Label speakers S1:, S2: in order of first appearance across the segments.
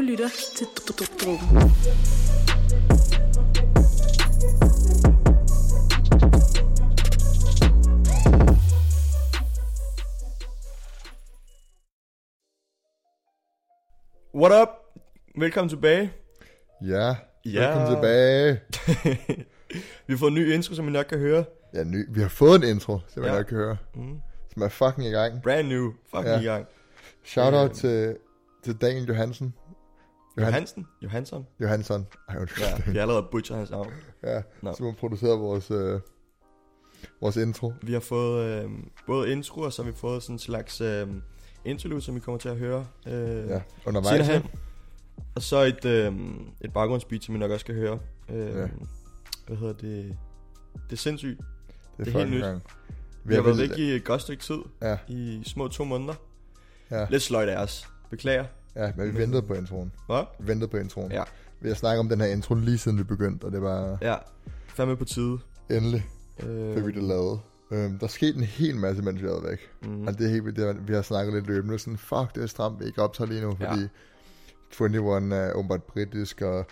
S1: lytter til Drupen.
S2: What up? Velkommen tilbage.
S3: Ja,
S2: Ja.
S3: ja. velkommen tilbage.
S2: Vi har fået en ny intro, som I nok kan høre.
S3: Ja, ny. Vi har fået en intro, som man
S2: Ja.
S3: ja. nok kan høre. Mm. Som er fucking i gang.
S2: Brand new. Fucking
S3: Ja.
S2: i gang.
S3: Shout out til, til Daniel Johansen.
S2: Johansen? Johansson?
S3: Johansson. Ej, undskyld.
S2: Ja,
S3: Ja.
S2: vi har allerede butcher hans navn.
S3: ja.
S2: Nå.
S3: Som har produceret vores, øh, vores intro.
S2: Vi har fået øh, både intro, og så har vi fået sådan en slags øh, interlude, som vi kommer til at høre. Øh,
S3: Ja, undervejs.
S2: senere hen. Og så et, øh, et baggrundsbeat, som I nok også skal høre. Øh,
S3: Ja.
S2: Hvad hedder det? Det er sindssygt.
S3: Det
S2: helt
S3: er fucking
S2: nyt.
S3: gang.
S2: Vi har været væk i et godt stykke tid.
S3: Ja.
S2: I små to måneder.
S3: Ja.
S2: Lidt sløjt af os. Beklager.
S3: Ja, men vi ventede på introen.
S2: Hvad?
S3: Vi ventede på introen.
S2: Mm. Ja.
S3: Vi har snakket om den her intro lige siden vi begyndte, og det var
S2: Ja. Fandme på tide.
S3: endelig,
S2: Øh,
S3: fik vi det lavet. Øhm, der skete en hel masse, mens vi havde væk. Mm.
S2: Mm-hmm.
S3: Og det er helt vildt, det er- vi har snakket lidt løbende, sådan, fuck, det er stramt, vi ikke optager lige nu,
S2: Ja.
S3: fordi 21 er åbenbart britisk, og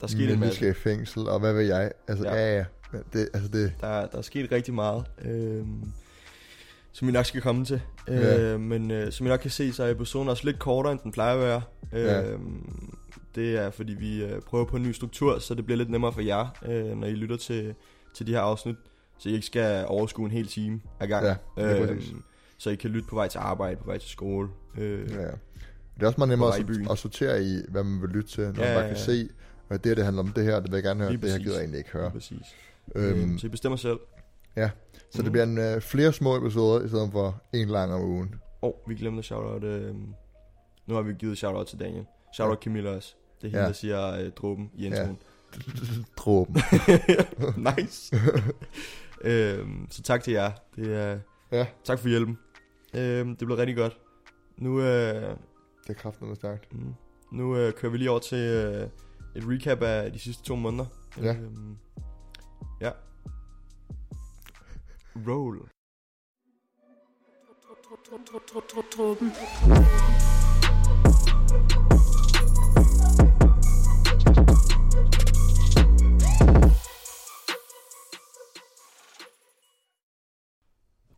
S2: der er sket en
S3: Mille
S2: masse.
S3: skal i fængsel, og hvad ved jeg. Altså,
S2: Ja.
S3: ja, ja. ja. Men Det, altså, det,
S2: Der, der er sket rigtig meget, øh, som vi nok skal komme til. Øh,
S3: Ja.
S2: Men øh, som I nok kan se, så er episoden også lidt kortere, end den plejer at være. Øh,
S3: Ja.
S2: Det er, fordi vi øh, prøver på en ny struktur, så det bliver lidt nemmere for jer, øh, når I lytter til, til de her afsnit, så I ikke skal overskue en hel time ad gangen.
S3: Ja, lige præcis.
S2: så I kan lytte på vej til arbejde, på vej til skole. Øh,
S3: ja. ja. Det er også meget nemmere
S2: vej i byen.
S3: at, at sortere i, hvad man vil lytte til, når
S2: Ja,
S3: ja, man bare
S2: ja,
S3: kan
S2: ja.
S3: se, og det her, det handler om det her, det vil jeg gerne høre,
S2: Lige
S3: det her
S2: præcis.
S3: gider jeg egentlig ikke høre.
S2: Præcis.
S3: Øhm,
S2: Øhm, så I bestemmer selv.
S3: ja. Så
S2: Mhm.
S3: det bliver en, øh, flere små episoder, i stedet for en lang om ugen.
S2: Og oh, vi glemte at shout-out... Øh, nu har vi givet shout-out til Daniel. Shout-out Camilla også. Det er hende, ja.
S3: Ja.
S2: der siger øh, dråben i introen.
S3: Dråben.
S2: Ja. nice. øhm, så tak til jer. Det er,
S3: ja,
S2: tak for hjælpen. Øhm, det blev rigtig godt. Nu, øh,
S3: det er kraften, stærkt.
S2: mm, nu øh, kører vi lige over til øh, et recap af de sidste to måneder.
S3: Ja.
S2: Øhm, ja. Roll.
S1: Drupen.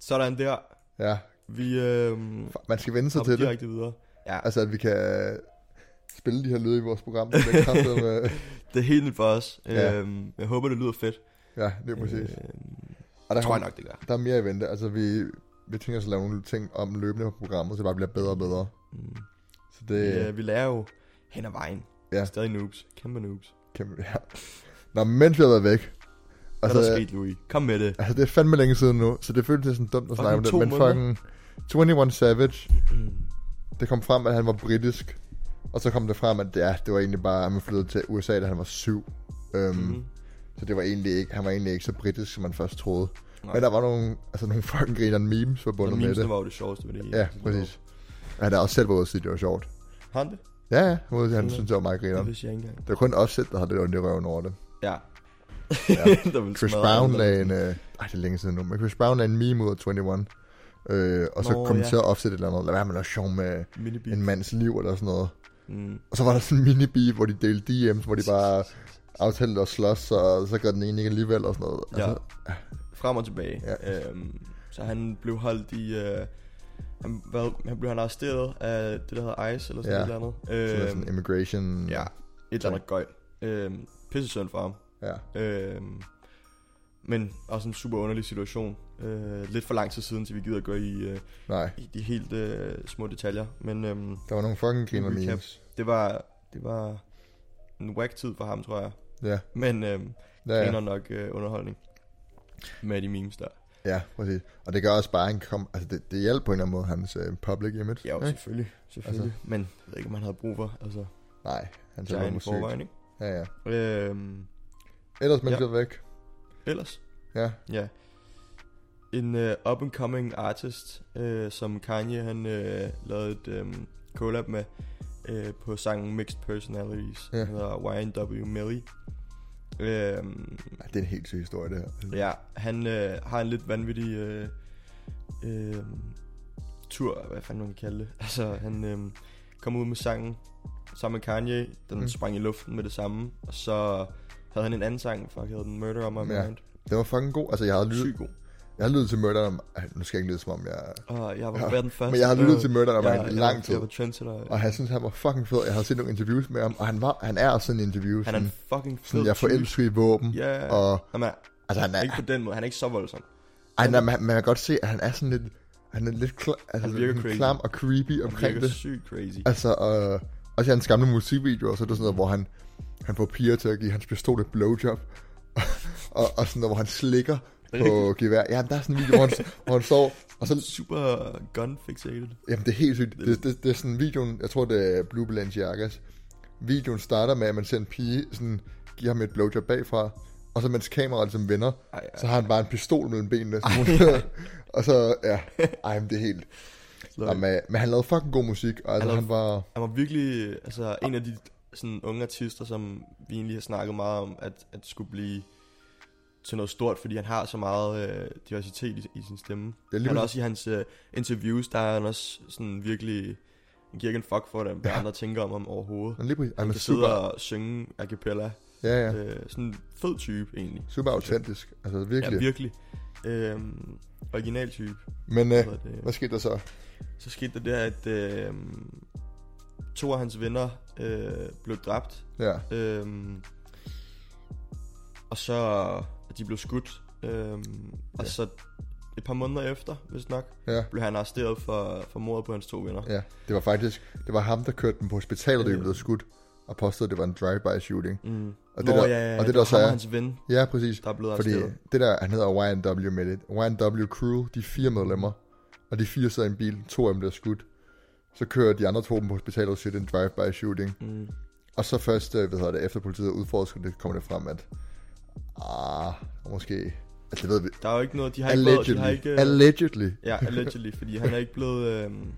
S2: Sådan der.
S3: Ja,
S2: Vi øh,
S3: man skal vende sig
S2: hopper
S3: til det.
S2: direkte videre. Ja.
S3: Altså, at vi kan spille de her lyde i vores program. Det er kraftet med...
S2: Det er helt nyt for os.
S3: Ja.
S2: Øhm, jeg håber, det lyder fedt.
S3: Ja, det er præcis. Øh,
S2: Øhm,
S3: og der,
S2: tror jeg
S3: har-
S2: nok, det gør.
S3: der er mere i vente. Altså, vi, vi tænker os at lave nogle ting om løbende på programmet, så det bare bliver bedre og bedre.
S2: Mm.
S3: Så det
S2: Vi,
S3: er
S2: øh, vi lærer jo hen ad vejen.
S3: Ja.
S2: Stadig noobs. Kæmpe noobs.
S3: kæmpe... Ja. Nå, men mens vi har været væk...
S2: Hvad altså,
S3: Altså,
S2: er der sket, Louis? Kom med det.
S3: altså, det er fandme længe siden nu, så det føltes sådan dumt at snakke om
S2: to
S3: det. Men
S2: måneder.
S3: fucking 21 Savage,
S2: Mm.
S3: det kom frem, at han var britisk. Og så kom det frem, at ja, det var egentlig bare, at han flyttede til USA, da han var syv. Øhm,
S2: Mhm.
S3: mm-hmm. Så det var egentlig ikke, han var egentlig ikke så britisk, som man først troede.
S2: Nej.
S3: Nej. Men der var nogle, altså nogle fucking grinerne memes
S2: Og
S3: forbundet med
S2: memesene
S3: det.
S2: var jo det sjoveste ved det hele.
S3: Ja, præcis. Han har også selv været ude at sige, at det var sjovt.
S2: Har han det?
S3: Ja, ja, han var ude at sige, han synes, det var meget
S2: Det
S3: grineren.
S2: vidste jeg ikke engang.
S3: Det var kun offset, der havde det ondt i røven over det.
S2: Ja.
S3: Ja.
S2: der ville
S3: Chris
S2: smadre
S3: Brown
S2: andre.
S3: lagde en... Øh, ej, det er længe siden nu, men Chris Brown lagde en meme ud af 21. Øh, og så
S2: Nå,
S3: kommenterede ja. offset et eller andet. Lad være med at være sjov med
S2: Minibi.
S3: en mands liv eller sådan noget.
S2: Mm.
S3: Og så var der sådan en mini hvor de delte DM's, hvor de bare aftalte at slås, og så gør den ene ikke alligevel og sådan noget.
S2: Ja. Frem og tilbage.
S3: Altså- Ja.
S2: Øhm, så han blev holdt i... Øh, han, hvad, han blev han arresteret af det, der hedder ICE, eller sådan
S3: Ja.
S2: et eller andet.
S3: så øhm, sådan immigration...
S2: Ja, et eller andet gøjl. Øhm, pissesynd for ham.
S3: ja.
S2: Øhm, men også en super underlig situation. Øh, lidt for lang tid siden, til vi gider at gå i, øh,
S3: Nej,
S2: i de helt øh, små detaljer. Men øhm,
S3: der var nogle fucking griner
S2: recap.
S3: memes.
S2: det var det var en whack tid for ham, tror jeg.
S3: Ja,
S2: Men øhm,
S3: ja,
S2: ja,
S3: ja.
S2: ja. nok øh, underholdning med de memes der.
S3: Ja, præcis. Og det gør også bare, at han kom... Altså, det, det hjalp på en eller anden måde, hans øh, public image.
S2: Ja, jo,
S3: ikke?
S2: selvfølgelig. selvfølgelig. Altså. Men jeg ved ikke, om han havde brug for. Altså,
S3: Nej, han
S2: det er
S3: tager
S2: en i
S3: musik.
S2: forvejen, ikke?
S3: Ja, ja.
S2: Øhm,
S3: Ellers,
S2: Ja.
S3: mens ja. jeg er væk.
S2: ellers,
S3: Ja,
S2: ja. En øh, up-and-coming artist, øh, som Kanye han øh, lavede et øh, collab med øh, på sangen Mixed Personalities.
S3: Ja.
S2: Yeah. hedder YNW Melly. Øhm,
S3: Ej, det er en helt syg historie, det her. Altså,
S2: Ja, han øh, har en lidt vanvittig øh, øh, tur, hvad fanden man kan kalde det. Altså, han øh, kom ud med sangen sammen med Kanye. Den
S3: Mm.
S2: mm. sprang i luften med det samme. Og så havde han en anden sang, fuck hedder den, Murder on My
S3: Ja.
S2: Mind.
S3: Det var fucking god. Altså, jeg har lyttet,
S2: Sygt god.
S3: jeg har lyttet til Murder om... Ej, nu skal jeg ikke lyde som om jeg...
S2: Og jeg var
S3: Ja,
S2: været den første.
S3: Men jeg har lyttet
S2: der-
S3: til Murder om
S2: jeg-
S3: ja,
S2: jeg-
S3: lang tid.
S2: Jeg var trendsetter.
S3: Og jeg synes, han var fucking fed. Jeg har set nogle interviews med ham, og han, var, han er sådan en interview.
S2: Han er en
S3: Sådan,
S2: fucking fed
S3: sådan, jeg
S2: type.
S3: forelsker i våben.
S2: Ja, og...
S3: Og
S2: han er,
S3: altså, han er,
S2: ikke på den måde. Han er ikke så voldsom.
S3: ej, nej, men han- man kan godt se, at han er sådan lidt... Han er lidt kla, altså,
S2: Han virker
S3: sådan
S2: crazy.
S3: klam og creepy
S2: Han
S3: omkring
S2: virker
S3: det.
S2: sygt crazy.
S3: Altså, øh, også i hans gamle musikvideoer, så er der sådan noget, hvor han, han får piger til at give hans pistol et blowjob. og, og sådan noget, hvor han slikker på gevær. Ja, der er sådan en video, hvor han, hvor han står, og så
S2: Super gun fixated.
S3: Jamen, det er helt sygt. Det, det, det er sådan videoen, jeg tror, det er Blue Balenciagas. Videoen starter med, at man ser en pige, sådan, giver ham et blowjob bagfra, og så mens kameraet ligesom vender,
S2: Ej, ej.
S3: så har han bare en pistol mellem benene. Sådan, og så, ja, ej, men det er helt...
S2: Løg.
S3: Jamen, øh, men han lavede fucking god musik, og altså,
S2: lavede-
S3: han var...
S2: Han var virkelig øh, altså, en af de sådan, unge artister, som vi egentlig har snakket meget om, at, at skulle blive til noget stort, fordi han har så meget øh, diversitet i, i sin stemme.
S3: Ja, lige
S2: han
S3: præcis.
S2: er også i hans øh, interviews, der er han også sådan virkelig, han giver ikke en fuck for, hvad ja. andre tænker om ham overhovedet.
S3: Han, lige præcis, han
S2: Han
S3: er
S2: kan sidde
S3: super,
S2: og synge a cappella.
S3: ja, ja,
S2: Øh, sådan en fed type egentlig.
S3: super autentisk. Altså,
S2: Ja,
S3: virkelig.
S2: virkelig. Øhm, original type.
S3: Men øh,
S2: Hvad er det?
S3: hvad skete der så?
S2: Så skete der det, at øh, to af hans venner øh, blev dræbt.
S3: Ja,
S2: Øhm, og så at de blev skudt. Øhm, og
S3: Ja.
S2: så et par måneder efter, hvis nok,
S3: ja.
S2: blev han arresteret for, for mordet på hans to venner.
S3: Ja, det var faktisk, det var ham, der kørte den på hospitalet, da de
S2: Øh.
S3: blev skudt, og påstod, at det var en drive-by shooting.
S2: Mm.
S3: Og det der-
S2: ja, ja,
S3: og det
S2: det
S3: der
S2: var
S3: så
S2: ham
S3: er-
S2: og hans ven,
S3: Ja, præcis.
S2: der er blevet
S3: Fordi
S2: arresteret.
S3: det der, han hedder YNW med det. YNW Crew, de er fire medlemmer, og de fire sidder i en bil, to af dem bliver skudt. Så kører de andre to dem på hospitalet og siger, det er en drive-by shooting.
S2: Mm.
S3: Og så først, øh, hvad hedder det, efter politiet udforsker det, kommer det frem, at... Ah, måske... Altså, det ved vi.
S2: Der er jo ikke noget, de har ikke været, de har
S3: Allegedly.
S2: ikke... øh,
S3: Allegedly.
S2: ja, allegedly, fordi han er ikke blevet... øhm,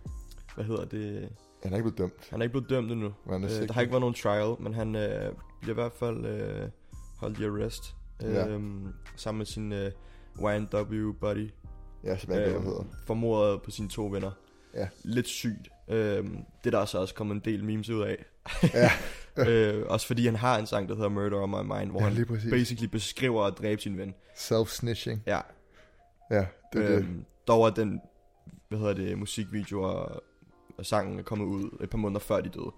S2: hvad hedder det?
S3: Han er ikke blevet dømt.
S2: Han er ikke blevet dømt endnu.
S3: Men han er
S2: Øh,
S3: sikkert.
S2: der har ikke været nogen trial, men han øh, bliver i hvert fald øh, holdt i arrest. Øh,
S3: Ja.
S2: Sammen med sin øh, YNW buddy.
S3: Ja, som jeg ikke ved,
S2: Øh,
S3: hvad hedder.
S2: Formordet på sine to venner.
S3: Ja.
S2: Lidt sygt. Øh, det er der så også kommet en del memes ud af.
S3: Ja.
S2: øh, også fordi han har en sang, der hedder Murder on My Mind, hvor
S3: Ja,
S2: han
S3: lige præcis.
S2: basically beskriver at dræbe sin ven.
S3: Self-snitching.
S2: Ja.
S3: Ja, det er det.
S2: Øhm, dog er den, hvad hedder det, musikvideo og, og sangen er kommet ud et par måneder før de døde.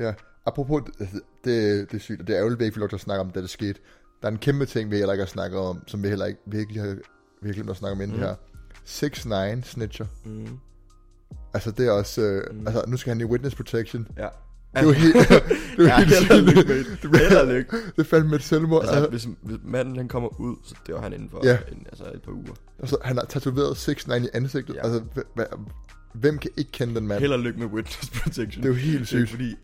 S3: Ja, apropos, det, det, det er sygt, og det er ærgerligt, at vi ikke får lov til at snakke om, da det skete. Der er en kæmpe ting, vi heller ikke har snakket om, som vi heller ikke virkelig har virkelig at snakke om inden mm.
S2: Mm.
S3: her. 6 9 snitcher.
S2: Mm.
S3: Altså, det er også... Øh, mm.
S2: Mm.
S3: Altså, nu skal han i witness protection.
S2: Ja.
S3: Det er jo helt... Altså- det er jo
S2: Ja,
S3: helt
S2: held og lykke, mate.
S3: sygt. Det,
S2: Held og lykke.
S3: det er fandme et selvmord.
S2: Altså,
S3: Altså,
S2: hvis, hvis manden han kommer ud, så dør han inden for
S3: Ja.
S2: en, altså et par uger.
S3: altså, han har tatoveret 6 9 i ansigtet. Ja.
S2: Ja.
S3: Altså, hva- hva- hvem kan ikke kende den mand?
S2: Held og lykke med witness protection.
S3: Det er jo helt
S2: Det er
S3: sygt.
S2: fordi,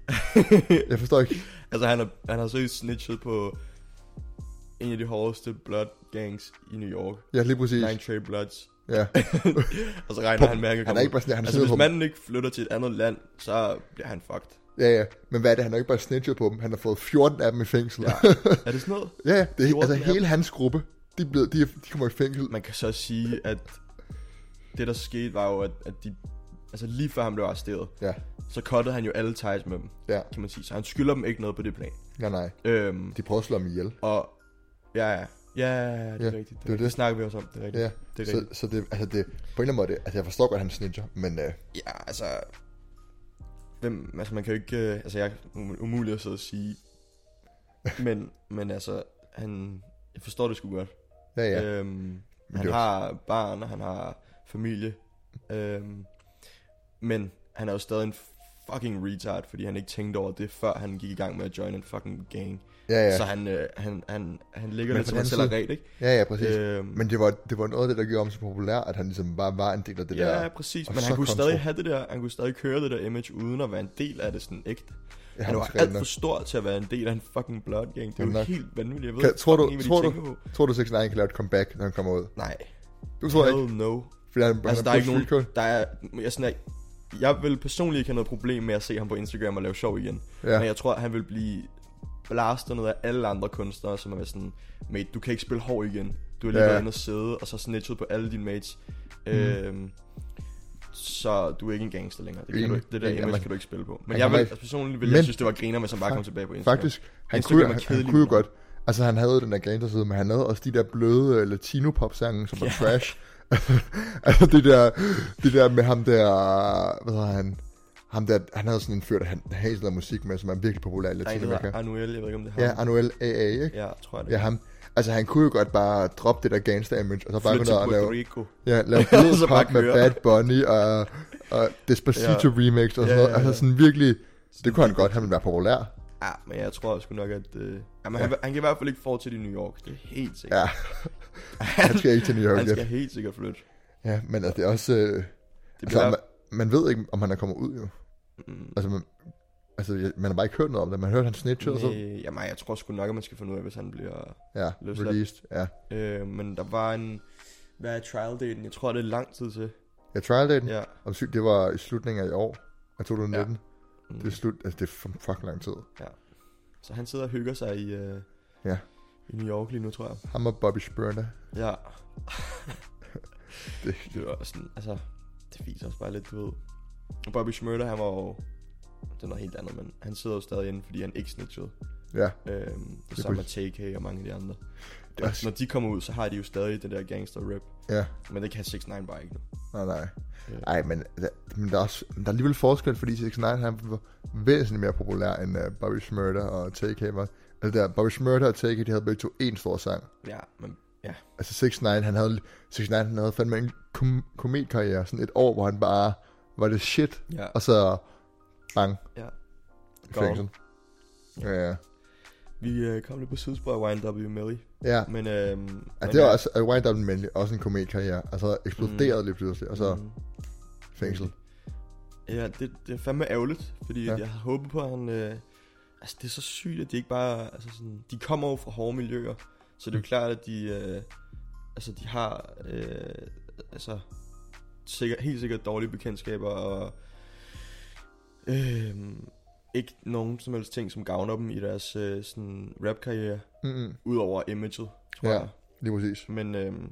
S3: Jeg forstår ikke.
S2: altså han, er, han har seriøst snitchet på en af de hårdeste blood gangs i New York.
S3: Ja, lige præcis.
S2: Nine Trey Bloods.
S3: Ja.
S2: Og så regner
S3: På-
S2: han med, at han kan
S3: Han er
S2: komme
S3: ikke
S2: ud.
S3: bare sådan, han
S2: Altså
S3: sidder på
S2: hvis
S3: dem.
S2: manden ikke flytter til et andet land, så bliver han fucked.
S3: Ja, ja. Men hvad er det? Han har ikke bare snitchet på dem. Han har fået 14 af dem i fængsel.
S2: Ja. Er det sådan noget?
S3: Ja, ja. Det er,
S2: 14
S3: altså
S2: af dem.
S3: hele hans gruppe, de, er blevet, de, er- de kommer i fængsel.
S2: Man kan så sige, at det der skete var jo, at, at de, altså lige før han blev arresteret,
S3: Ja,
S2: så cuttede han jo alle ties med dem,
S3: ja.
S2: kan man sige. Så han skylder dem ikke noget på det plan.
S3: Nej, nej.
S2: Øhm,
S3: De prøver at slå ham ihjel.
S2: Og ja, ja, ja, ja, det er ja,
S3: Ja,
S2: rigtigt.
S3: det er
S2: Det, det,
S3: det.
S2: det snakker vi også om, det er rigtigt.
S3: Ja,
S2: det er
S3: så,
S2: rigtigt.
S3: så det, altså det, på en eller anden måde, altså jeg forstår godt, at han snitcher, men øh,
S2: Ja, altså... Hvem, altså man kan jo ikke... øh, Altså jeg er um- umulig at sidde og sige. Men, men altså, han... Jeg forstår det sgu godt.
S3: ja, ja. Øh,
S2: Øhm,
S3: Men
S2: han
S3: det var-
S2: har barn, og han har familie. Øhm, men han er jo stadig en fucking retard, fordi han ikke tænkte over det, før han gik i gang med at join en fucking gang.
S3: ja, ja.
S2: Ja. Så han, øh, han, han, han ligger
S3: Men
S2: lidt
S3: på
S2: som
S3: den
S2: han selv er
S3: side-
S2: ret, ikke?
S3: ja, ja, præcis. Øh,
S2: Øhm,
S3: men det var, det var noget af det, der gjorde ham så populær, at han ligesom bare var en del af det
S2: ja,
S3: der.
S2: Ja, præcis.
S3: Og
S2: Men
S3: så
S2: han kunne
S3: kontrol.
S2: stadig have det der, han kunne stadig køre det der image, uden at være en del af det sådan ægte.
S3: Ja,
S2: Han var
S3: måske
S2: alt
S3: nok.
S2: for stor til at være en del af en fucking blood gang. Det er
S3: Jamen
S2: jo
S3: nok.
S2: helt vanvittigt. Jeg ved
S3: Kan-
S2: ikke,
S3: tror du-
S2: fucking ikke,
S3: tror
S2: hvad
S3: du-
S2: de tænker på.
S3: Tror du, 6 9 kan lave et comeback, når han kommer ud?
S2: Nej.
S3: Du tror ikke,
S2: Hell no.
S3: fordi han,
S2: Altså,
S3: han
S2: der er ikke
S3: free
S2: nogen...
S3: code?
S2: Der er, jeg, sådan er, jeg vil personligt ikke have noget problem med at se ham på Instagram og lave sjov igen.
S3: Ja,
S2: Men jeg tror, at han vil blive blaster noget af alle andre kunstnere, som er sådan, mate, du kan ikke spille hård igen. Du har lige
S3: Ja.
S2: været inde og sidde, og så snitchet på alle dine mates. Mm. Øhm, så du er ikke en gangster længere. Det, kan
S3: Enig.
S2: du, ikke- det der
S3: Ja,
S2: image
S3: man-
S2: kan du ikke spille på. Men
S3: man
S2: jeg
S3: kommer
S2: vil,
S3: ikke-
S2: altså, personligt ville
S3: Men-
S2: jeg synes, det var griner, hvis han bare kom tilbage på Instagram.
S3: Faktisk, han
S2: Instagram
S3: kunne,
S2: er
S3: han, han
S2: kedelig
S3: kunne jo
S2: humor.
S3: godt... Altså, han havde jo den der gangsterside, men han havde også de der bløde uh, latino-pop-sange, som var
S2: Ja.
S3: trash. altså, det der, det der med ham der... Hvad hedder han? Ham der, han havde sådan en fyr, der han han havde sådan noget musik med, som er virkelig populær
S2: Der er
S3: i
S2: en, der
S3: Latinamerika.
S2: hedder Anuel, jeg ved ikke, om det er
S3: Ja,
S2: ham.
S3: Anuel AA, ikke?
S2: Ja, tror jeg det.
S3: Ja, ham. Altså, han kunne jo godt bare droppe det der gangster-image, og så bare
S2: Flyt til
S3: begynde at
S2: Puerto
S3: lave,
S2: Rico.
S3: ja, lave blød
S2: Så bare
S3: pop med
S2: køre.
S3: Bad Bunny og, og Despacito remix og sådan
S2: Ja,
S3: noget.
S2: ja,
S3: Altså,
S2: ja.
S3: sådan virkelig... Det kunne han godt, han ville være populær.
S2: Ja, men jeg tror sgu nok, at... Øh, jamen, han, han, kan i hvert fald ikke fortsætte i New York. Det er helt sikkert.
S3: Ja. Han skal ikke til New York
S2: Han
S3: igen.
S2: skal helt sikkert flytte.
S3: Ja, men altså, det er også... Øh,
S2: Det
S3: altså,
S2: bliver...
S3: man, man ved ikke, om han er kommet ud, jo.
S2: Mm.
S3: Altså, man, altså, jeg- man har bare ikke hørt noget om det. Man har hørt, han snitchede og så...
S2: Øh, jamen, jeg tror sgu nok, at man skal finde ud af, hvis han bliver...
S3: Ja,
S2: løsladt.
S3: released. Ja.
S2: Øh, men der var en... Hvad er trial daten? Jeg tror, det er lang tid til.
S3: Jeg trial daten.
S2: Ja.
S3: Om sygt, det var i slutningen af i år. Af 2019.
S2: Mm.
S3: Det er slut... Altså, det er for fucking lang tid.
S2: Så han sidder og hygger sig i... Øh,
S3: Ja.
S2: I New York lige nu, tror jeg.
S3: Ham og Bobby Spurner.
S2: Ja.
S3: Det,
S2: Det var sådan... Altså, det viser også bare lidt, du ved. Og Bobby Schmørter, han var jo... Det er noget helt andet, men han sidder jo stadig inde, fordi han ikke snitchede.
S3: ja.
S2: Øhm, det,
S3: Det
S2: det
S3: er
S2: samme med TK og mange af de andre.
S3: Det er
S2: Og
S3: også-
S2: når de kommer ud, så har de jo stadig den der gangster-rap.
S3: Ja.
S2: Men det kan 6 9 bare ikke nu.
S3: Nej, nej.
S2: Ja.
S3: Ej, men, der, men der, er også, men der er alligevel forskel, fordi 6 9 han var væsentligt mere populær end uh, Bobby Smurder og TK var. Altså der, Bobby Smurder og TK, de havde begge to én stor sang.
S2: Ja, men
S3: Altså 6 9 han havde, 6 9 han havde fandme en kom- kometkarriere, sådan et år, hvor han bare var det shit,
S2: ja.
S3: og så bang, i
S2: Gone.
S3: fængsel. Ja, ja.
S2: Vi øh, kom lidt på sidespor af YNW Melly.
S3: ja.
S2: Men øhm,
S3: Ja,
S2: men,
S3: det var
S2: øh,
S3: også, at Wind Up Manly, også en kometkarriere, altså eksploderede mm. lige pludselig, og så
S2: mm,
S3: fængsel.
S2: Ja, det, det er fandme ærgerligt, fordi
S3: Ja.
S2: ja. jeg havde håbet på, at han... Øh, altså, det er så sygt, at de ikke bare... Altså sådan, de kommer jo fra hårde miljøer, så det er jo
S3: Mm.
S2: klart, at de... Øh, altså, de har... Øh, altså, sikkert, helt sikkert dårlige bekendtskaber, og... Øh, ikke nogen som helst ting, som gavner dem i deres øh, sådan rap-karriere,
S3: Mm-hmm.
S2: udover imaget, tror
S3: Ja.
S2: ja. jeg.
S3: Lige præcis.
S2: Men øhm,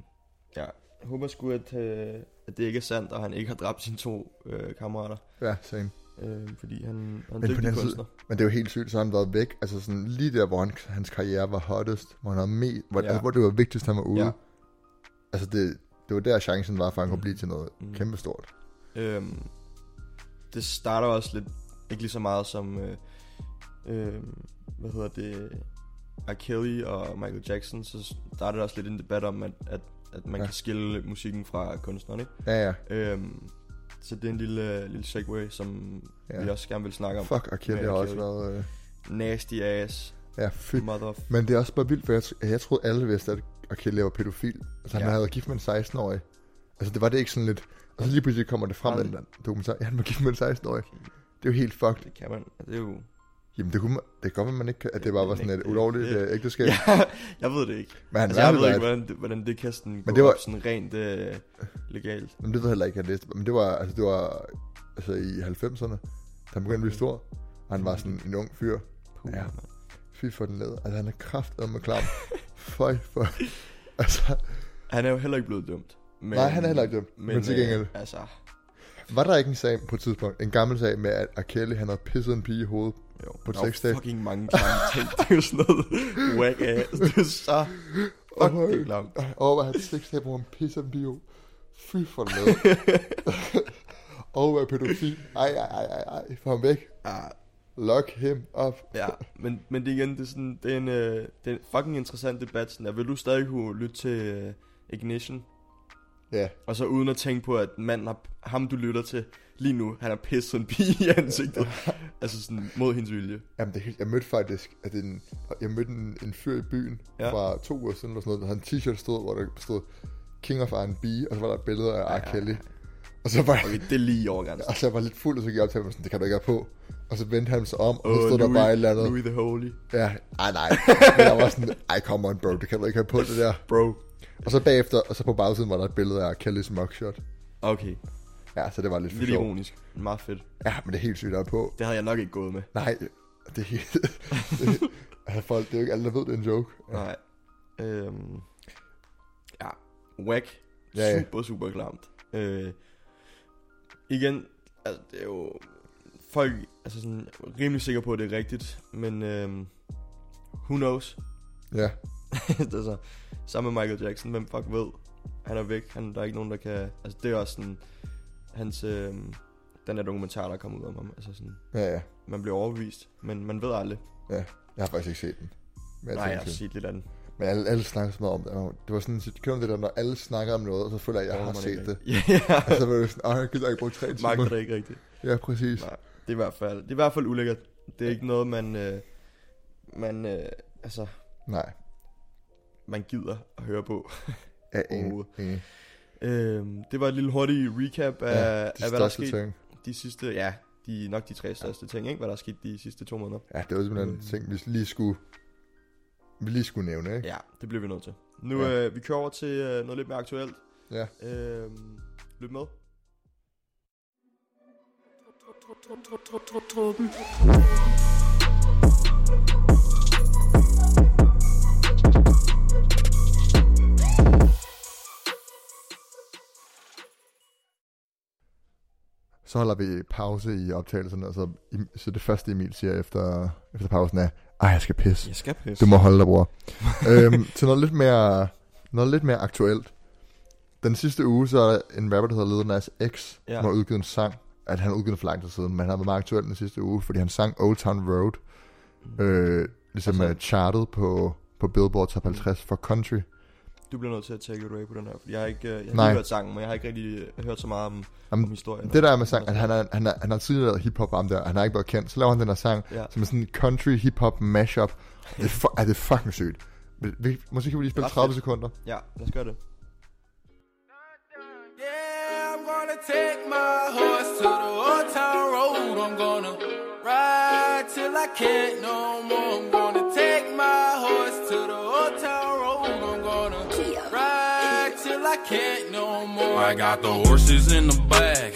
S2: ja, jeg håber sgu, at, øh, at det ikke er sandt, og han ikke har dræbt sine to øh, kammerater.
S3: Ja, same.
S2: Øh, fordi han, han er en
S3: på den
S2: dygtig
S3: anden side-
S2: kunstner.
S3: Men det er jo helt sygt, så har han været væk. Altså sådan lige der, hvor han, hans karriere var hottest, hvor, han havde med, hvor, ja.
S2: Ja.
S3: altså, hvor det var vigtigst, han var ude. Ja.
S2: Ja.
S3: Altså det, det var der, chancen var for, at han kunne
S2: Mm.
S3: blive til noget mm.
S2: Mm.
S3: kæmpestort.
S2: Øhm, det starter også lidt, ikke lige så meget som, øh, øh, hvad hedder det, R. Kelly og Michael Jackson, så starter der også lidt en debat om, at, at, at man
S3: Ja.
S2: ja. kan skille musikken fra kunstneren, ikke?
S3: Ja, ja.
S2: Øhm, så det er en lille, lille segue, som
S3: Ja.
S2: ja. vi også gerne vil snakke om.
S3: Fuck, og Kelly
S2: med
S3: har
S2: R.
S3: også
S2: Kelly.
S3: været... Øh,
S2: Nasty ass,
S3: ja, fedt.
S2: mother...
S3: Men det er også bare vildt, for jeg, tr- jeg troede alle vidste, at R. Kelly var pædofil. Altså han
S2: Ja.
S3: havde været gift med en 16-årig. Altså det var det ikke sådan lidt... Og så lige pludselig kommer det frem
S2: Har
S3: i
S2: han
S3: den der dokumentar. Ja, han var gift med en 16-årig. Det er jo helt fucked.
S2: Det kan man, Altså, det er jo...
S3: Jamen det kunne man, det kan godt være, man ikke kan, at det bare var sådan et ulovligt øh, ægteskab.
S2: Ja, jeg ved det ikke.
S3: Men han
S2: Altså, jeg
S3: var
S2: ved
S3: det
S2: ikke, hvordan det, hvordan det kan sådan
S3: Men
S2: gå
S3: det
S2: det
S3: var-
S2: var... op sådan rent øh, legalt.
S3: Jamen, det ved jeg heller ikke, at læste. Men det var, altså, det var altså, i 90'erne, da han begyndte at blive stor. Og han var sådan en ung fyr.
S2: Puh,
S3: Ja.
S2: ja. Man.
S3: Fy for den led. Altså, han er kraftet med klam. Føj for... Altså,
S2: Han er jo heller ikke blevet dømt. Men,
S3: nej, han er heller ikke dømt. Men, men til gengæld,
S2: Øh, altså,
S3: var der ikke en sag på et tidspunkt, en gammel sag med, at R. Kelly, han havde pisset en pige i hovedet?
S2: jo,
S3: På
S2: der er jo
S3: sex date.
S2: fucking mange klamme ting. Det er jo sådan noget whack ass. Det er så fuck
S3: Åh,
S2: det er klamt.
S3: Og at han sextape, hvor han pisser en pige i hovedet. Fy for den led. og er pædofil. Ej, ej, ej, ej, ej. Få ham væk.
S2: Ja,
S3: Lock him up.
S2: ja. Men, men det er igen, det er, sådan, det, er en, øh, det er en fucking interessant debat. Sådan, der. vil du stadig kunne lytte til øh, Ignition?
S3: Ja.
S2: Og så uden at tænke på, at manden har, ham du lytter til lige nu, han har pisset en pige i ansigtet. altså sådan mod hendes vilje.
S3: Jamen, det er helt, jeg mødte faktisk, at en, jeg mødte en, en fyr i byen ja.
S2: Ja.
S3: fra to uger siden, eller sådan noget, der havde en t-shirt stod, hvor der stod King of R&B, og så var der et billede af R.
S2: ja,
S3: Kelly. Og så var jeg,
S2: Okay, det er lige over grænsen.
S3: og så jeg var lidt fuld, og så gik jeg op til ham, og sådan, det kan du ikke have på. Og så vendte han sig om, og så
S2: Åh,
S3: stod der bare et eller andet.
S2: Louis the Holy.
S3: Ja, ej nej. Men jeg var sådan, ej come on bro, det kan du ikke have på det der.
S2: Bro.
S3: Og så bagefter, og så på bagsiden var der et billede af R. Kellys mugshot.
S2: Okay,
S3: Ja, så det var lidt for
S2: lidt
S3: sjovt.
S2: ironisk. Meget fedt.
S3: Ja, men det er helt sygt, at have på.
S2: Det havde jeg nok ikke gået med.
S3: Nej, det er helt... det, altså, folk, det er jo ikke alle, der ved, det er en joke.
S2: Nej. Øhm, ja, whack.
S3: Ja, ja.
S2: Super, super klamt. Øh, igen, altså, det er jo... Folk altså sådan, er rimelig sikre på, at det er rigtigt, men øhm, who knows?
S3: Ja,
S2: altså, sammen med Michael Jackson, hvem fuck ved? Han er væk, han, der er ikke nogen, der kan... Altså, det er også sådan... Hans... Øhm, den der dokumentar, der er kommet ud om ham. Altså sådan,
S3: ja, ja.
S2: man bliver overbevist, men man ved aldrig.
S3: Jeg har faktisk ikke set den. Men jeg
S2: Nej, jeg har
S3: tænkte til-
S2: set lidt af den.
S3: Men alle, alle snakker så meget om det. Det var sådan, så- kender du det der, når alle snakker om noget, og så føler jeg, at jeg
S2: Åh,
S3: har
S2: man
S3: set
S2: ikke
S3: det. Altså,
S2: rigtig- Ja,
S3: Og så var det sådan, åh, jeg gider ikke bruge tre timer.
S2: magter det ikke rigtigt.
S3: Ja, præcis.
S2: Nej. Det er i hvert fald, det er i hvert fald ulækkert. Det er ikke noget, man, øh, man, øh, altså,
S3: Nej,
S2: man gider at høre på.
S3: jeg er enig.
S2: Overhovedet.
S3: enig.
S2: Øhm, det var et lille hurtigt recap af,
S3: Ja,
S2: ja,
S3: De
S2: af hvad der er
S3: største
S2: sket
S3: ting.
S2: de sidste, ja, de, nok de tre største ja. ting, ikke? Hvad der er sket de sidste to måneder.
S3: Ja, det var simpelthen en
S2: Øhm.
S3: ting, vi lige skulle, vi lige skulle nævne, ikke?
S2: Ja, det bliver vi nødt til. Nu,
S3: Ja.
S2: ja. øh, vi kører over til øh, noget lidt mere aktuelt.
S3: Ja.
S2: Øhm, lyt med.
S1: Tropen.
S3: Så holder vi pause i optagelserne, og så, så det første Emil siger efter, efter pausen er, ej, jeg skal pisse.
S2: Jeg skal pisse.
S3: Du må holde dig, bror. øhm, til noget lidt mere, noget lidt mere aktuelt. Den sidste uge, så er der en rapper, der hedder Lil Nas X, ja.
S2: Ja.
S3: som har udgivet en sang. At han har udgivet den for lang tid siden, men han har været meget aktuel den sidste uge, fordi han sang Old Town Road, øh, ligesom
S2: Altså-
S3: altså, chartet på, på Billboard Top 50 for country.
S2: Du bliver nødt til at tage away på den her, for jeg har ikke øh, jeg har
S3: Nej.
S2: lige hørt sangen, men jeg har ikke rigtig øh, hørt så meget om,
S3: Jamen,
S2: om historien.
S3: Det der med sang, at han, er, han, er, han har tidligere lavet hiphop om der, og han har ikke været kendt. Så laver han den her sang,
S2: Ja.
S3: som er sådan en country hiphop mashup. Det er, fu- er det er fucking sygt. Vi- vi- Måske kan vi lige spille
S2: Ret
S3: 30
S2: fedt.
S3: sekunder.
S2: Ja, lad os gøre det.
S4: Yeah, I'm gonna take my horse to the old town road. I'm gonna ride till I can't no more. I'm gonna take my horse to the old town road. I'm gonna ride till I can't no more. I got the horses in the bag,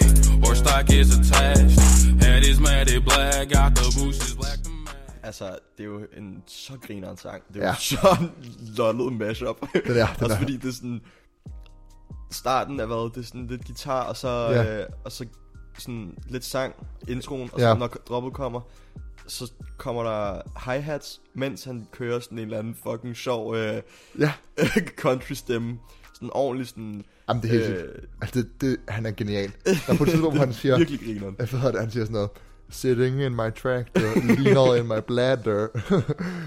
S4: horse stock is attached. Head is matted black, got the bushes black to match.
S2: Altså, det er jo en så grineren sang. Det er ja.
S3: Ja.
S2: jo så lollet mashup. Den
S3: er- den
S2: Også
S3: er.
S2: fordi det er sådan... Starten er været, det er sådan lidt guitar, og så,
S3: Ja.
S2: ja. øh, og så sådan lidt sang, introen, og
S3: Ja.
S2: ja. så når droppet kommer, så kommer der hi-hats, mens han kører sådan en eller anden fucking sjov øh,
S3: Ja,
S2: country stemme. Sådan ordentlig sådan...
S3: Jamen, det er helt
S2: Øh.
S3: sygt. altså, det, det, han er genial. Der er på et tidspunkt, hvor han siger,
S2: Virkelig grineren.
S3: jeg ved, at han siger sådan noget, Sitting in my tractor, lean in my bladder.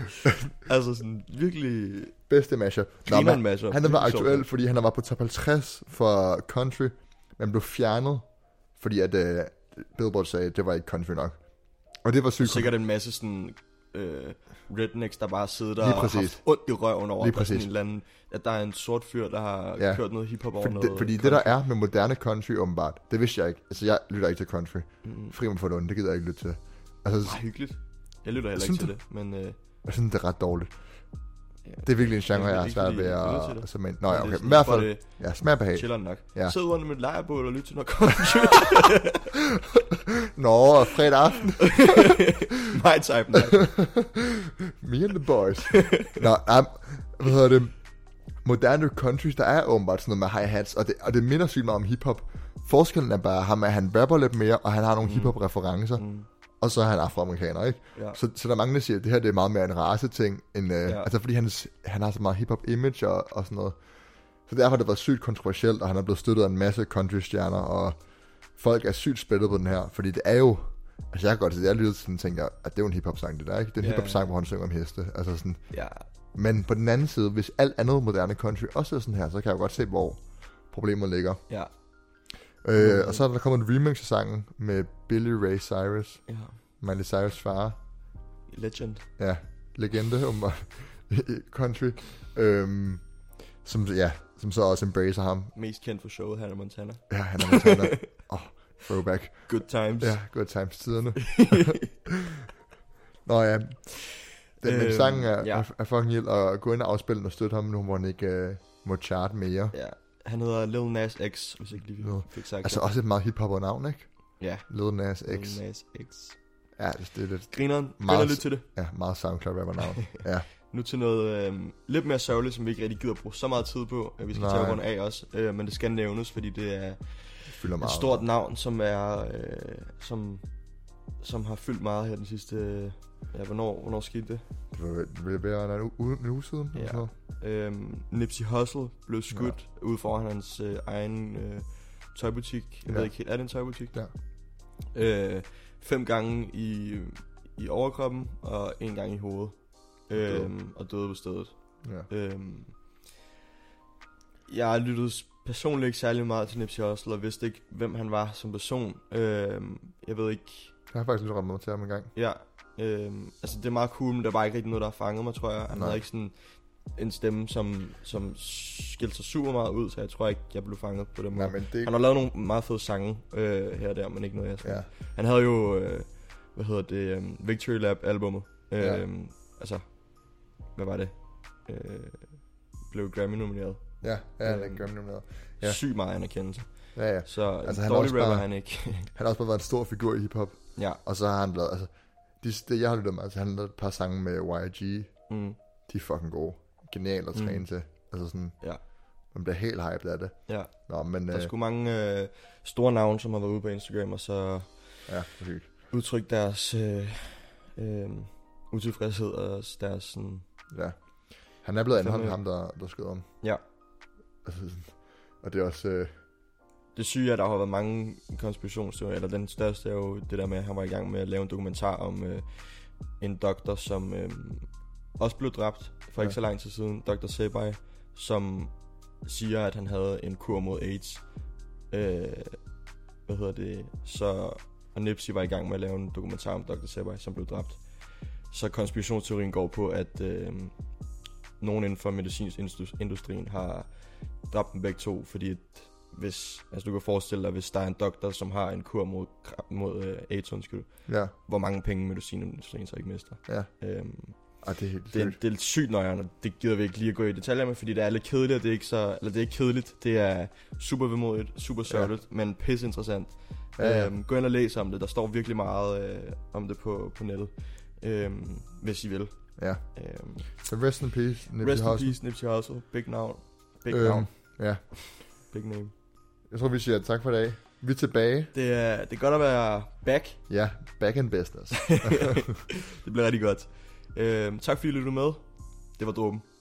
S2: Altså sådan virkelig...
S3: Bedste mashup.
S2: Grineren
S3: men
S2: mashup.
S3: han var
S2: Virkelig sjov
S3: aktuel,
S2: sang.
S3: fordi han var på top 50 for country, men blev fjernet, fordi at øh, Billboard sagde, at det var ikke country nok. Og det var sygt.
S2: sikkert en masse sådan øh, rednecks, der bare sidder der
S3: Lige
S2: og har
S3: præcis.
S2: haft ondt i røven over,
S3: Lige
S2: at der er sådan
S3: præcis.
S2: en eller anden, at der er en sort fyr, der har
S3: Ja.
S2: ja. kørt noget hiphop over
S3: Fordi,
S2: noget.
S3: det, fordi det der er med moderne country åbenbart, det vidste jeg ikke. Altså jeg lytter ikke til country. Mm. Frimund for Lunde, det gider jeg ikke lytte til. Altså
S2: er hyggeligt. Jeg lytter heller ikke
S3: Synes
S2: til
S3: du?
S2: det, men øh,
S3: jeg synes, det er ret dårligt.
S2: Ja.
S3: Det er virkelig en
S2: Jeg
S3: genre, jeg
S2: kan
S3: har
S2: ikke
S3: svært
S2: lide-
S3: ved
S2: jeg lytter til
S3: at...
S2: det.
S3: Som en, nå ja,
S2: det er
S3: okay.
S2: sådan,
S3: Men i hvert
S2: for
S3: fald,
S2: det
S3: ja, smag og behag.
S2: chiller nok.
S3: Ja.
S2: Ja. Sid under mit lejrebål og lyt til noget country.
S3: Nå, og fredag aften,
S2: My type nej.
S3: me and the boys. nå, nej, hvad hedder det? Moderne country, der er åbenbart sådan noget med hi-hats, og det, og det minder sygt meget om hiphop. Forskellen er bare ham, at han rapper lidt mere, og han har nogle mm. hiphop-referencer. Mm. Og så er han afroamerikaner, ikke?
S2: Ja.
S3: Så, så der er mange, der siger, at det her det er meget mere en race-ting, end, øh, ja. altså fordi han, han har så meget hip-hop-image og, og sådan noget. Så derfor har det været sygt kontroversielt, og han er blevet støttet af en masse country-stjerner, og folk er sygt spillet på den her, fordi det er jo, altså jeg kan godt se, jeg lytter til den og tænker, at det er jo en hip-hop-sang, det der, ikke? Det er en
S2: Ja,
S3: hip-hop-sang, hvor han synger om heste, altså sådan.
S2: Ja.
S3: Men på den anden side, hvis alt andet moderne country også er sådan her, så kan jeg jo godt se, hvor problemet ligger.
S2: Ja.
S3: Øh, og så er der kommet en remix af sangen med Billy Ray Cyrus,
S2: ja.
S3: Miley Cyrus' far,
S2: Legend.
S3: ja, legende om country, øhm, som, ja, som så også embracer ham.
S2: Mest kendt for showet, Hannah Montana.
S3: Ja, han er Montana. Åh, oh, throwback.
S2: Good times.
S3: Ja, good times tiderne. Nå ja, den, øhm, men
S2: Øhm,
S3: sangen er,
S2: ja.
S3: ja. er fucking ild, og gå ind og afspille den og støtte ham nu, hvor han ikke øh, må chart mere.
S2: ja. Han hedder Lil Nas X, hvis ikke lige
S3: Nå.
S2: fik sagt
S3: Altså
S2: det.
S3: også et meget hiphopper navn, ikke?
S2: Ja.
S3: Lil Nas X.
S2: Lil Nas X.
S3: Ja, det, det er lidt,
S2: Grineren. Gå ind
S3: Meget-
S2: og lyt til det.
S3: ja, meget SoundCloud-rapper navn. ja,
S2: Nu til noget øh, lidt mere sørgeligt, som vi ikke rigtig gider bruge så meget tid på. Øh, Vi skal
S3: Nej.
S2: tage rundt af også, øh, men det skal nævnes, fordi det er
S3: fylder
S2: et
S3: meget.
S2: stort navn, som er, øh, som, som har fyldt meget her den sidste, øh, ja, hvornår, hvornår skete det?
S3: Det vil være en, u- u- en uge siden.
S2: Ja.
S3: eller sådan noget.
S2: Øhm, Nipsey Hussle blev skudt ja. ude foran hans øh, egen øh, tøjbutik. Jeg ja.
S3: Ja.
S2: ved ikke helt, er det en tøjbutik?
S3: Ja.
S2: Øh, fem gange i, i overkroppen og en gang i hovedet. Øhm, og døde på stedet.
S3: Ja.
S2: Øhm, jeg lyttede s- personligt ikke særlig meget til Nipsey Hussle og vidste ikke, hvem han var som person. Øhm, jeg ved ikke,
S3: Jeg har faktisk lidt rammet mig til ham en gang.
S2: Ja, øhm, altså det er meget cool, men der var ikke rigtig noget, der har fanget mig, tror jeg. Han
S3: Nej.
S2: Nej. havde ikke sådan en stemme, som, som skilte sig super meget ud, så jeg tror ikke, jeg blev fanget på den måde.
S3: Nej, men det...
S2: Han har lavet nogle meget fede sange øh, her og der, men ikke noget, jeg sådan.
S3: Ja,
S2: Ja. Han havde jo, øh, hvad hedder det, um, Victory Lab-albummet. Øh,
S3: Ja.
S2: ja. Altså, hvad var det? Øh, blev Grammy-nomineret.
S3: ja, ja, han er
S2: Øhm,
S3: ikke gammel noget. Ja.
S2: Ja. Sygt meget anerkendelse.
S3: Ja, ja.
S2: Så
S3: Altså,
S2: altså,
S3: han
S2: en
S3: er
S2: dårlig
S3: også
S2: rapper
S3: bare-
S2: bare... han ikke.
S3: Han har også bare været en stor figur i hiphop,
S2: ja.
S3: og så har han lavet, altså, de, det jeg har lyttet med, altså, han har lavet et par sange med YG,
S2: Mm,
S3: de er fucking gode. Genial at træne mm.
S2: Mm.
S3: til. Altså sådan,
S2: ja.
S3: man bliver helt hyped af det.
S2: Ja.
S3: Nå, men...
S2: Der er
S3: Øh,
S2: sgu mange øh, store navne, som har været ude på Instagram, og så
S3: ja, præcis.
S2: udtrykke deres øh, øh, utilfredshed og deres- deres sådan...
S3: Ja. Han er blevet
S2: Fandme-
S3: anholdt, ham der, der skød om.
S2: Ja.
S3: Altså, sådan, og det er også... Øh,
S2: Det syge er, at der har været mange konspirationsteorier, eller den største er jo det der med, at han var i gang med at lave en dokumentar om øh, en doktor, som øh, også blev dræbt for ikke
S3: Ja.
S2: så lang tid siden, Dr. Sebai, som siger, at han havde en kur mod AIDS. Øh, hvad hedder det? Så, og Nipsey var i gang med at lave en dokumentar om Dr. Sebai, som blev dræbt. Så konspirationsteorien går på, at øh, nogen inden for medicinindustrien har dræbt dem begge to, fordi at hvis, altså du kan forestille dig, hvis der er en doktor, som har en kur mod, kræ- mod øh, AIDS, undskyld,
S3: ja,
S2: hvor mange penge medicinindustrien så ikke mister.
S3: ja.
S2: Øhm,
S3: Og det er helt
S2: det, er,
S3: sygt.
S2: det er sygt nøjeren, og det gider vi ikke lige at gå i detaljer med, fordi det er lidt kedeligt, og det er ikke så, eller det er ikke kedeligt, det er super vemodigt, super sørgeligt, ja. men pisse interessant.
S3: Ja, ja.
S2: Øhm, gå ind og læs om det, der står virkelig meget øh, om det på, på nettet, øhm, hvis I vil.
S3: Ja.
S2: Øhm,
S3: Så rest in peace, Nipsey
S2: rest in
S3: Hussle.
S2: peace, Nipsey Hussle, big navn, big
S3: Øhm,
S2: navn,
S3: ja.
S2: big name.
S3: Jeg tror, vi siger tak for i dag. Vi er tilbage.
S2: Det er, det er godt at være back,
S3: Ja, back in business.
S2: det bliver rigtig godt. Øhm, tak fordi I lyttede med. Det var dråben.